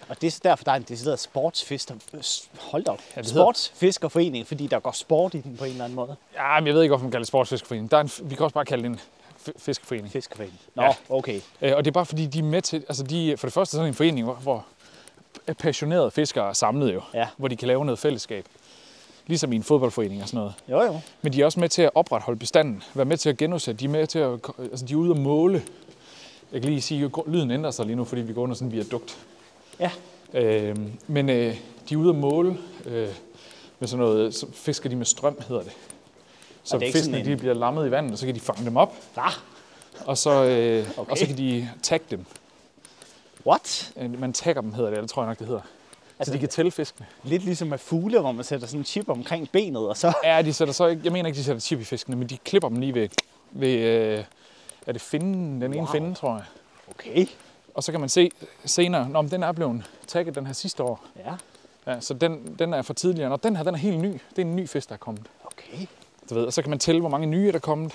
Og det er så derfor, der er en decideret sportsfisker... s- Hold da op. Ja, det hedder- Sportsfiskerforening, fordi der går sport i den på en eller anden måde. Ja, men jeg ved ikke, hvorfor man kalder det sportsfiskeforening. Der er en, f- vi kan også bare kalde det en f- fiskeforening. Fiskerforening. Nå, Ja. okay. Øh, og det er bare fordi, de er med til, altså de, for det første er sådan en forening, hvor, hvor passionerede fiskere er samlet jo, Ja. hvor de kan lave noget fællesskab. Ligesom i en fodboldforening og sådan noget. Jo, jo. Men de er også med til at opretholde bestanden, være med til at genudsætte, de er med til at, altså de er ude at måle. Jeg kan lige sige, at lyden ændrer sig lige nu, fordi vi går under sådan en viadukt. Ja. Øh, men øh, de er ude at måle øh, med sådan noget, så fisker de med strøm, hedder det. Så Og det er ikke fiskene sådan en- de bliver lammet i vandet, og så kan de fange dem op, Hva? og så, øh, okay. og Okay. så kan de tagge dem. What? Øh, Man tagger dem, hedder det, eller tror jeg nok, det hedder. Altså, Altså- så de kan tælle fiskene. Lidt ligesom med fugle, hvor man sætter sådan en chip omkring benet, og så... Ja, de sætter så ikke, jeg mener ikke, de sætter chip i fiskene, men de klipper dem lige ved, ved øh, er det finden, den ene Wow. finde, tror jeg. Okay. Og så kan man se senere, når den er blevet tagget den her sidste år. Ja. Ja, så den, den er fra tidligere. Og den her, den er helt ny. Det er en ny fisk, der er kommet. Okay. Du ved, og så kan man tælle, hvor mange nye er der kommet.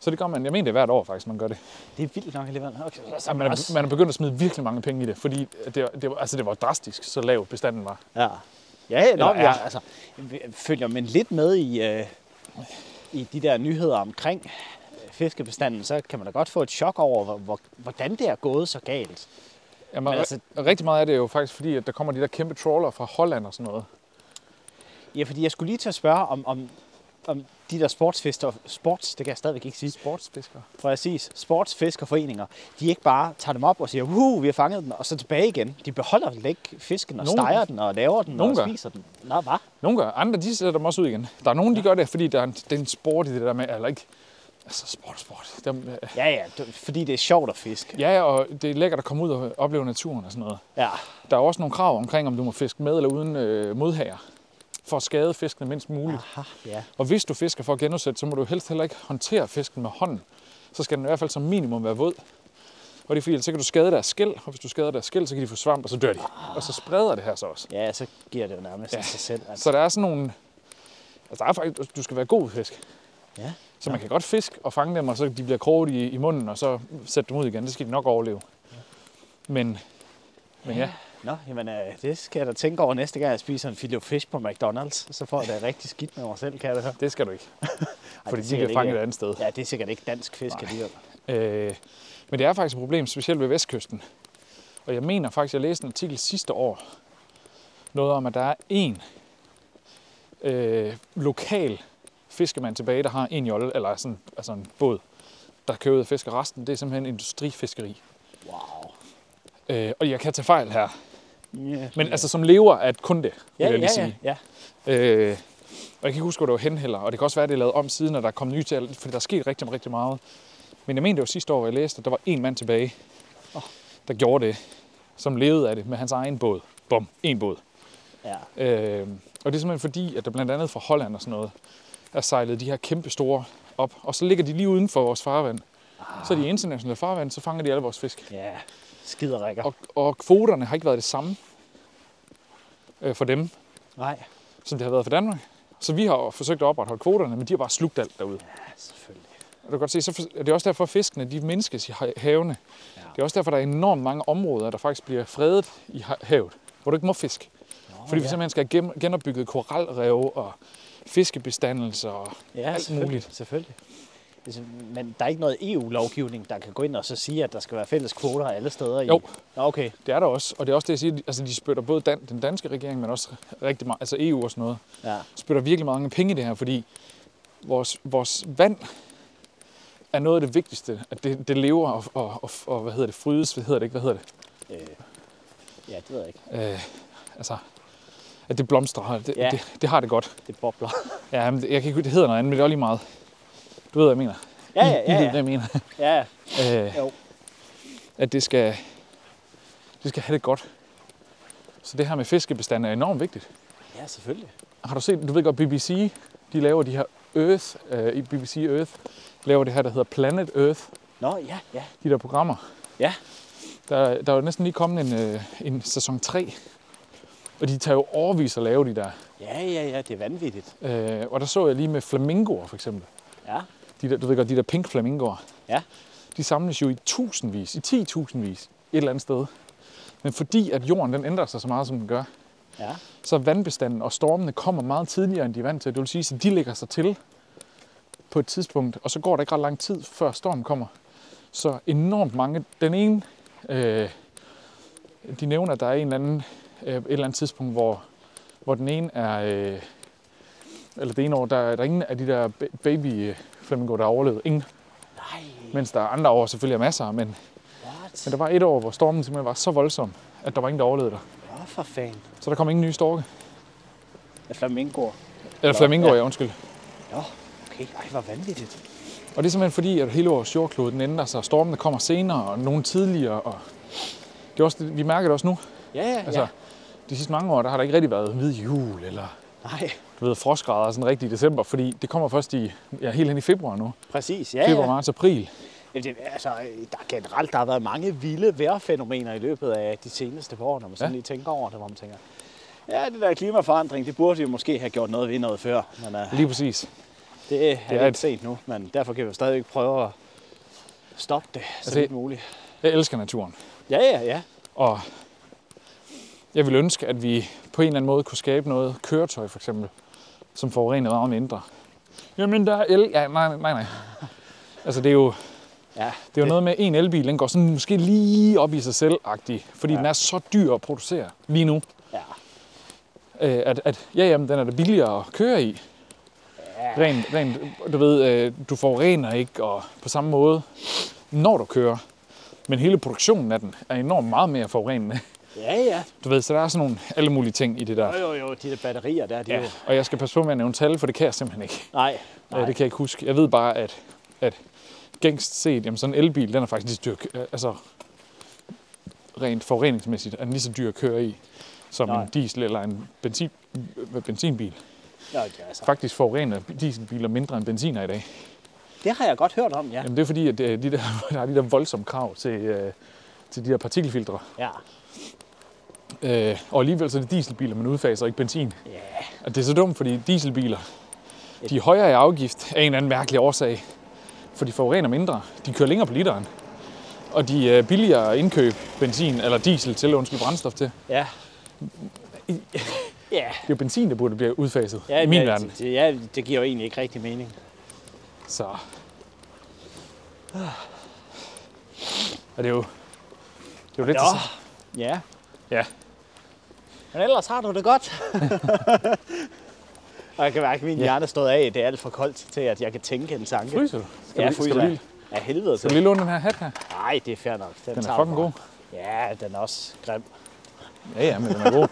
Så det gør man. Jeg mener, det er hvert år faktisk, man gør det. Det er vildt nok alligevel. Okay. Så man, er, man er begyndt at smide virkelig mange penge i det, fordi det, var- det, var- altså det var drastisk, så lav bestanden var. Ja. Ja, ja, nå, Eller er. jeg, altså, jeg følger men lidt med i, øh, i de der nyheder omkring øh, fiskebestanden, så kan man da godt få et chok over, hvor- hvor, hvordan det er gået så galt. Jamen, Men altså, altså- rigtig meget af det er jo faktisk fordi, at der kommer de der kæmpe trawler fra Holland og sådan noget. Ja, fordi jeg skulle lige til at spørge om, om, om de der sportsfisker, sports, det kan jeg stadigvæk ikke sige, Sportsfiskere. præcis, sportsfiskerforeninger, de ikke bare tager dem op og siger, uh, vi har fanget den, og så tilbage igen. De beholder slet ikke fisken og Nogen- steger den og laver den Nogen og gør. spiser den. Nå, hvad? Nogle gør, andre de sætter dem også ud igen. Der er nogen, de gør det, fordi der er en, det er en sport i det der med, eller ikke, altså sport, sport. Dem, Ja, ja, det- fordi det er sjovt at fiske. Ja, og det er lækkert at komme ud og opleve naturen og sådan noget. Ja, Der er også nogle krav omkring, om du må fiske med eller uden øh, modhager, for at skade fiskene mindst muligt. Aha, ja. Og hvis du fisker for at genudsætte, så må du helst heller ikke håndtere fisken med hånden. Så skal den i hvert fald som minimum være våd. Og det er fordi, ellers så kan du skade deres skæld, og hvis du skader deres skæld, så kan de få svamp, og så dør de. Og så spreder det her så også. Ja, så giver det jo nærmest ja. sig selv. Altså. Så der er sådan nogle... Altså, der er faktisk, du skal være god fisk. Ja. Så man kan godt fiske og fange dem, og så de bliver kroget i, i munden, og så sætte dem ud igen. Det skal de nok overleve. Men, men ja. Nå, jamen, øh, det skal jeg da tænke over næste gang, jeg spiser en filet fish på McDonald's. Så får jeg da rigtig skidt med mig selv, kan jeg da høre. Det skal du ikke, Ej, fordi det er de sikkert bliver fanget et ikke, andet sted. Ja, det er sikkert ikke dansk fisk alligevel. Øh, men det er faktisk et problem, specielt ved vestkysten. Og jeg mener faktisk, jeg læste en artikel sidste år, noget om, at der er én øh, lokal fiskemand tilbage, der har en jolle, eller sådan, altså en båd, der kører ud og fisker. Resten, det er simpelthen industrifiskeri. Wow. Øh, og jeg kan tage fejl her, Yeah. men altså som lever er det kun det, vil ja, jeg ja, lige ja, sige. ja. Øh, Og jeg kan ikke huske, hvor det var hen heller. Og det kan også være, at det er lavet om siden, og der er kommet nye tal, fordi der er sket rigtig, rigtig meget. Men jeg mener, det var sidste år, hvor jeg læste, at der var en mand tilbage, der gjorde det, som levede af det med hans egen båd. Bum, en båd. Ja. Øh, og det er simpelthen fordi, at der blandt andet fra Holland og sådan noget, er sejlet de her kæmpe store op. Og så ligger de lige uden for vores farvand. Ah. Så er de i internationale farvand, så fanger de alle vores fisk. Ja, skiderikker. Og, og kvoterne har ikke været det samme øh, for dem, Nej, som det har været for Danmark. Så vi har jo forsøgt at opretholde kvoterne, men de har bare slugt alt derude. ja, selvfølgelig. Og du kan godt se, så for- det er også derfor, at fiskene de mindskes i ha- havene. Ja. Det er også derfor, der er enormt mange områder, der faktisk bliver fredet i ha- havet, hvor du ikke må fiske. Nå, Fordi vi ja. simpelthen skal have gen- genopbygget koralrev og fiskebestandelser. Og ja, alt selvfølgelig, muligt. Selvfølgelig. Altså, Men der er ikke noget EU-lovgivning, der kan gå ind og så sige, at der skal være fælles kvoter alle steder? I... Jo. Nå, okay. det er der også. Og det er også det, jeg siger, altså de spytter både dan- den danske regering, men også rigtig meget, altså EU og sådan noget, Ja. spytter virkelig mange penge i det her, fordi vores, vores vand er noget af det vigtigste, at det, det lever og, og, og, og, hvad hedder det, frydes, hvad hedder det ikke, hvad hedder det? Øh. Ja, det ved jeg ikke. øh, altså, at det blomstrer, og det, Ja. ja. det, det har det godt. Det <laughs> bobler. Ja, men det, jeg kan ikke, det hedder noget andet, men det er også lige meget. Du ved, hvad jeg mener. Ja, ja, I, I <laughs> ja. ved, ja. hvad jeg mener. ja. ja. Øh, Jo. at det skal, det skal have det godt. Så det her med fiskebestanden er enormt vigtigt. ja, selvfølgelig. Har du set, du ved godt, BBC, de laver de her Earth, øh, i BBC Earth, laver det her, der hedder Planet Earth, Nå, ja, ja. de der programmer. Ja. Der, der er jo næsten lige kommet en, øh, en sæson 3, og de tager jo overvis at lave de der Ja, ja, ja, det er vanvittigt. Øh, og der så jeg lige med flamingoer for eksempel. Ja, De der, du ved godt, de der pink flamingoer. Ja. De samles jo i tusindvis, i 10.000 vis et eller andet sted. Men fordi at jorden den ændrer sig så meget, som den gør, ja. så er vandbestanden og stormene kommer meget tidligere, end de er vant til. Det vil sige, at de lægger sig til på et tidspunkt, og så går der ikke ret lang tid, før stormen kommer. Så enormt mange. Den ene, øh, de nævner, at der er en eller anden, øh, et eller andet tidspunkt, hvor, hvor den ene er, øh, eller det ene år, der, er- der er ingen af de der ba- baby flamingo, der har overlevet. Ingen. Nej, Mens der er andre år selvfølgelig er masser, men, what? men der var et år, hvor stormen simpelthen var så voldsom, at der var ingen, der overlevede der. Nå, for fanden. Så der kom ingen nye storke. Ja, flamingoer. Eller flamingoer, ja. undskyld. Nå, okay. Ej, hvor vanvittigt. Og det er simpelthen fordi, at hele vores jordklode den ændrer sig, og stormene kommer senere, og nogle tidligere. Og det er også, det- vi mærker det også nu. Ja, ja, Altså, ja. De sidste mange år, der har der ikke rigtig været hvid jul, eller Nej, du ved, frostgrader sådan rigtig i december, fordi det kommer først i, ja, helt hen i februar nu. præcis. Ja, Februar, ja. marts, april. Jamen, det, altså, øh, der, er generelt der har været mange vilde vejrfænomener i løbet af de seneste par år, når man sådan Ja. lige tænker over det, hvor man tænker, ja, det der klimaforandring, det burde vi måske have gjort noget ved noget før, men uh, Lige præcis. det er er lidt et- sent nu, men derfor kan vi jo stadigvæk prøve at stoppe det så Altså, vidt muligt. Jeg elsker naturen. Ja, ja, ja. Og jeg ville ønske, at vi på en eller anden måde kunne skabe noget køretøj, for eksempel, som forurener meget mindre. Jamen, der er el... Ja, nej, nej, nej. Altså, det er jo, ja det er jo noget med, at en elbil, den går sådan måske lige op i sig selv fordi Ja. ja. den er så dyr at producere lige nu, Ja, øh, at, at ja, jamen, den er da billigere at køre i. Rent, rent, du ved, øh, du forurener ikke, og på samme måde, når du kører. Men hele produktionen af den er enormt meget mere forurenende. ja, ja. Du ved, så der er sådan nogle alle mulige ting i det der. Jo, jo, jo, de der batterier der, de ja. Ja, jo... og jeg skal passe på med at nævne tal, for det kan jeg simpelthen ikke. Nej, Nej. Øh, Det kan jeg ikke huske. Jeg ved bare, at, at gængst set, jamen sådan en elbil, den er faktisk lige så dyr, øh, altså rent forureningsmæssigt, er den lige så dyr at køre i, som Nej. en diesel eller en benzin, øh, benzinbil. Nå, det, er altså, Faktisk forurener dieselbiler mindre end benziner i dag. det har jeg godt hørt om, ja. Jamen det er fordi, at øh, de der, <laughs> der er de der voldsomme krav til, øh, til de der partikelfiltre. Ja, Øh, og alligevel så er det dieselbiler, man udfaser ikke benzin. ja. Og det er så dumt, fordi dieselbiler, de er højere i afgift af en eller anden mærkelig årsag. For de forurener mindre. De kører længere på literen. Og de er billigere at indkøbe benzin eller diesel til, undskyld, brændstof til. Ja. I- Ja. Det er jo benzin, der burde blive udfaset Ja, ja, i min ja, verden. det, det, ja, det giver jo egentlig ikke rigtig mening. Så... Og det er jo... Det er jo lidt... Nå, til- ja. Ja. Men ellers har du det godt. <laughs> og jeg kan mærke, at min ja. Ja. hjerne er stået af. Det er alt for koldt til, at jeg kan tænke en tanke. Fryser du? Skal, Ja, du, skal, fryser. du lige, Ja, helvede skal du til. lige låne den her hat her? Nej, det er fair nok. Den, Den er tager du fucking fra. god. Ja, den er også grim. Ja, ja, men den er god.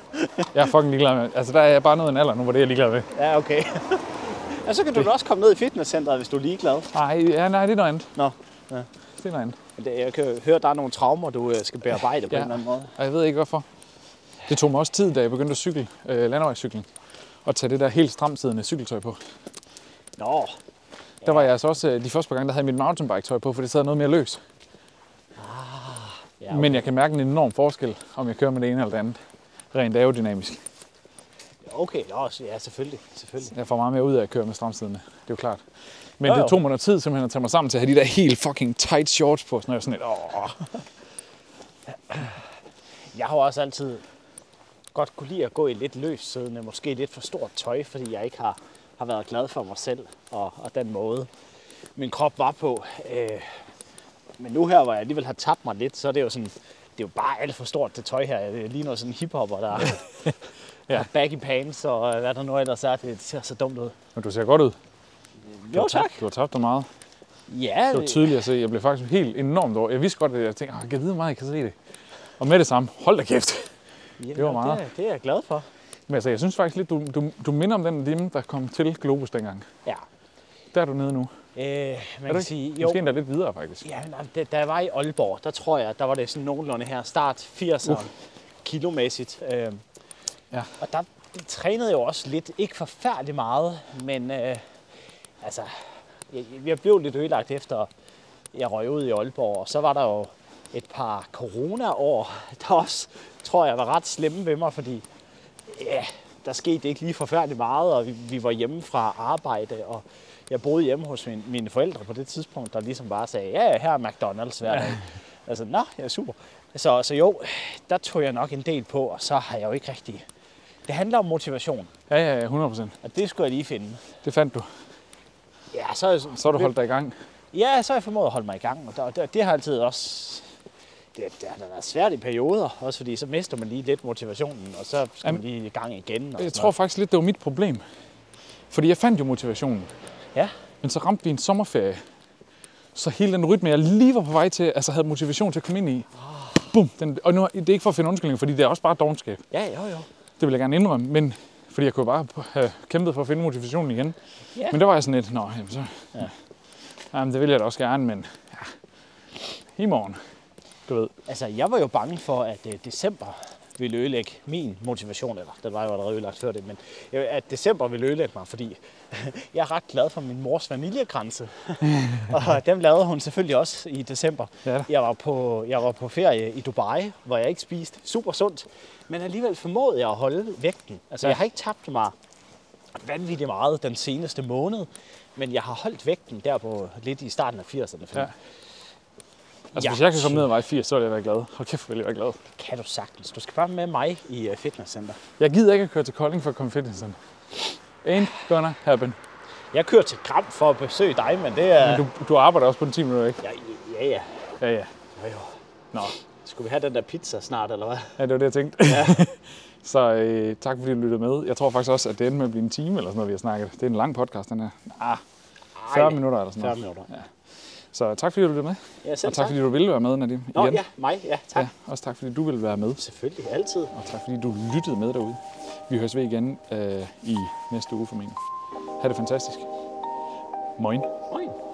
jeg er fucking ligeglad med Altså, der er jeg bare nået en alder nu, hvor det er jeg ligeglad med. Ja, okay. <laughs> ja, så kan du da også komme ned i fitnesscenteret, hvis du er ligeglad. Nej, ja, nej, det er noget andet. Nå. Det er noget andet. Men det- Jeg kan høre, at der er nogle traumer, du øh, skal bearbejde på Ja. en eller anden måde. Og jeg ved ikke hvorfor. Det tog mig også tid, da jeg begyndte at cykle, øh, landevejscykling, og tage det der helt stramsiddende cykeltøj på. Nå, Der var jeg altså også, øh, de første par gange, der havde jeg mit mountainbike-tøj på, for det sad noget mere løs. ja, Ja, okay. Men jeg kan mærke en enorm forskel, om jeg kører med det ene eller det andet. Rent aerodynamisk. okay, nå, så- ja, selvfølgelig, selvfølgelig. Jeg får meget mere ud af at køre med stramsiderne. Det er jo klart. Men Jo, jo. det tog mig noget tid simpelthen at tage mig sammen til at have de der helt fucking tight shorts på. Sådan, jeg var sådan lidt, åh. Jeg har jo også altid godt kunne lide at gå i lidt løs siddende, måske lidt for stort tøj, fordi jeg ikke har, har været glad for mig selv og, og den måde, min krop var på. Øh, men nu her, hvor jeg alligevel har tabt mig lidt, så er det jo sådan, det er jo bare alt for stort det tøj her. Det ligner sådan en hiphopper, der <laughs> ja. har baggy pants og øh, hvad der nu ellers er. Det ser så dumt ud. Men du ser godt ud. Du Jo, har tak. tabt- Du har tabt dig meget. Ja, Det var tydeligt at se. Jeg blev faktisk helt enormt over. Jeg vidste godt, at jeg tænkte, "Åh, jeg kan vide hvor meget, jeg kan se det. Og med det samme, hold da kæft. jamen, det var meget. Det, er- det er jeg glad for. Men altså, jeg synes faktisk lidt, du, du, du minder om den limme, der kom til Globus dengang. Ja. Der er du nede nu. Øh, man Er du kan ikke? sige, jo, Måske endda lidt videre, faktisk. Ja, men, da, da jeg var i Aalborg, der tror jeg, der var det sådan nogenlunde her, start 80'erne, uh. kilomæssigt. Øh, Ja. Og der det trænede jeg jo også lidt, ikke forfærdelig meget, men øh, altså, jeg, jeg blev lidt ødelagt efter, jeg røg ud i Aalborg, og så var der jo et par corona-år, <laughs> der også, tror jeg, var ret slemme ved mig, fordi ja, der skete ikke lige forfærdeligt meget, og vi, vi var hjemme fra arbejde, og jeg boede hjemme hos min, mine forældre på det tidspunkt, der ligesom bare sagde, ja, ja, her er McDonald's hver dag. altså, nå, ja, super. Så, så jo, der tog jeg nok en del på, og så har jeg jo ikke rigtig... Det handler om motivation, Ja, ja, ja, 100 procent. og det skulle jeg lige finde. Det fandt du. Ja, så, er jeg sådan- Så har du holdt dig i gang. Ja, så har jeg formået at holde mig i gang, og der, der, det har altid også... Det, det har da været svært i perioder, også fordi så mister man lige lidt motivationen, og så skal man lige i gang igen. Og Jeg sådan tror faktisk lidt, det var mit problem. Fordi jeg fandt jo motivationen. noget. Ja, Men så ramte vi en sommerferie. Så hele den rytme, jeg lige var på vej til, altså havde motivation til at komme ind i. Ah. Bum, den, og nu, det er ikke for at finde undskyldninger, fordi det er også bare dogenskab. ja, jo, jo. Det vil jeg gerne indrømme, men fordi jeg kunne bare have kæmpet for at finde motivationen igen. Ja. Men der var jeg sådan lidt, nå, jamen så, ja. jamen, det vil jeg da også gerne, men ja, i morgen, du ved. Altså, jeg var jo bange for, at øh, december ville ødelægge min motivation, eller den var jo allerede ødelagt før det, men øh, at december ville ødelægge mig, fordi <laughs> jeg er ret glad for min <laughs> mors vaniljekranse. og dem lavede hun selvfølgelig også i december. Ja da. Jeg var, på, jeg var på ferie i Dubai, hvor jeg ikke spiste super sundt, men alligevel formåede jeg at holde vægten. Altså, Ja. jeg har ikke tabt mig vanvittigt meget den seneste måned, men jeg har holdt vægten der på lidt i starten af 80'erne. fordi Ja. Altså, Ja. hvis jeg kan komme ned ad vej 80, så ville jeg være glad. Hold kæft, hvor ville jeg være glad. Kan du sagtens. Du skal bare med mig i øh, fitnesscenter. Jeg gider ikke at køre til Kolding for at komme i fitnessen. Ain't gonna happen. Jeg kører til Gram for at besøge dig, men det er... Men du, du arbejder også på den 10 minutter, ikke? Ja, ja, ja. Ja, ja. Jo, jo. Nå, Skulle vi have den der pizza snart, eller hvad? ja, det var det, jeg tænkte. Ja. <laughs> så øh, tak, fordi du lyttede med. Jeg tror faktisk også, at det endte med at blive en time eller sådan noget, vi har snakket. Det er en lang podcast, den her. Ah, 40 minutter eller sådan 40 noget. minutter. Ja, Så tak, fordi du lyttede med. ja Og tak, fordi du ville være med, Nadim. Nå, igen. ja, mig. Ja, tak. ja. Også tak, fordi du ville være med. Selvfølgelig, altid. Og tak, fordi du lyttede med derude. Vi høres ved igen øh, i næste uge formentlig. Ha' det fantastisk. Moin. Moin.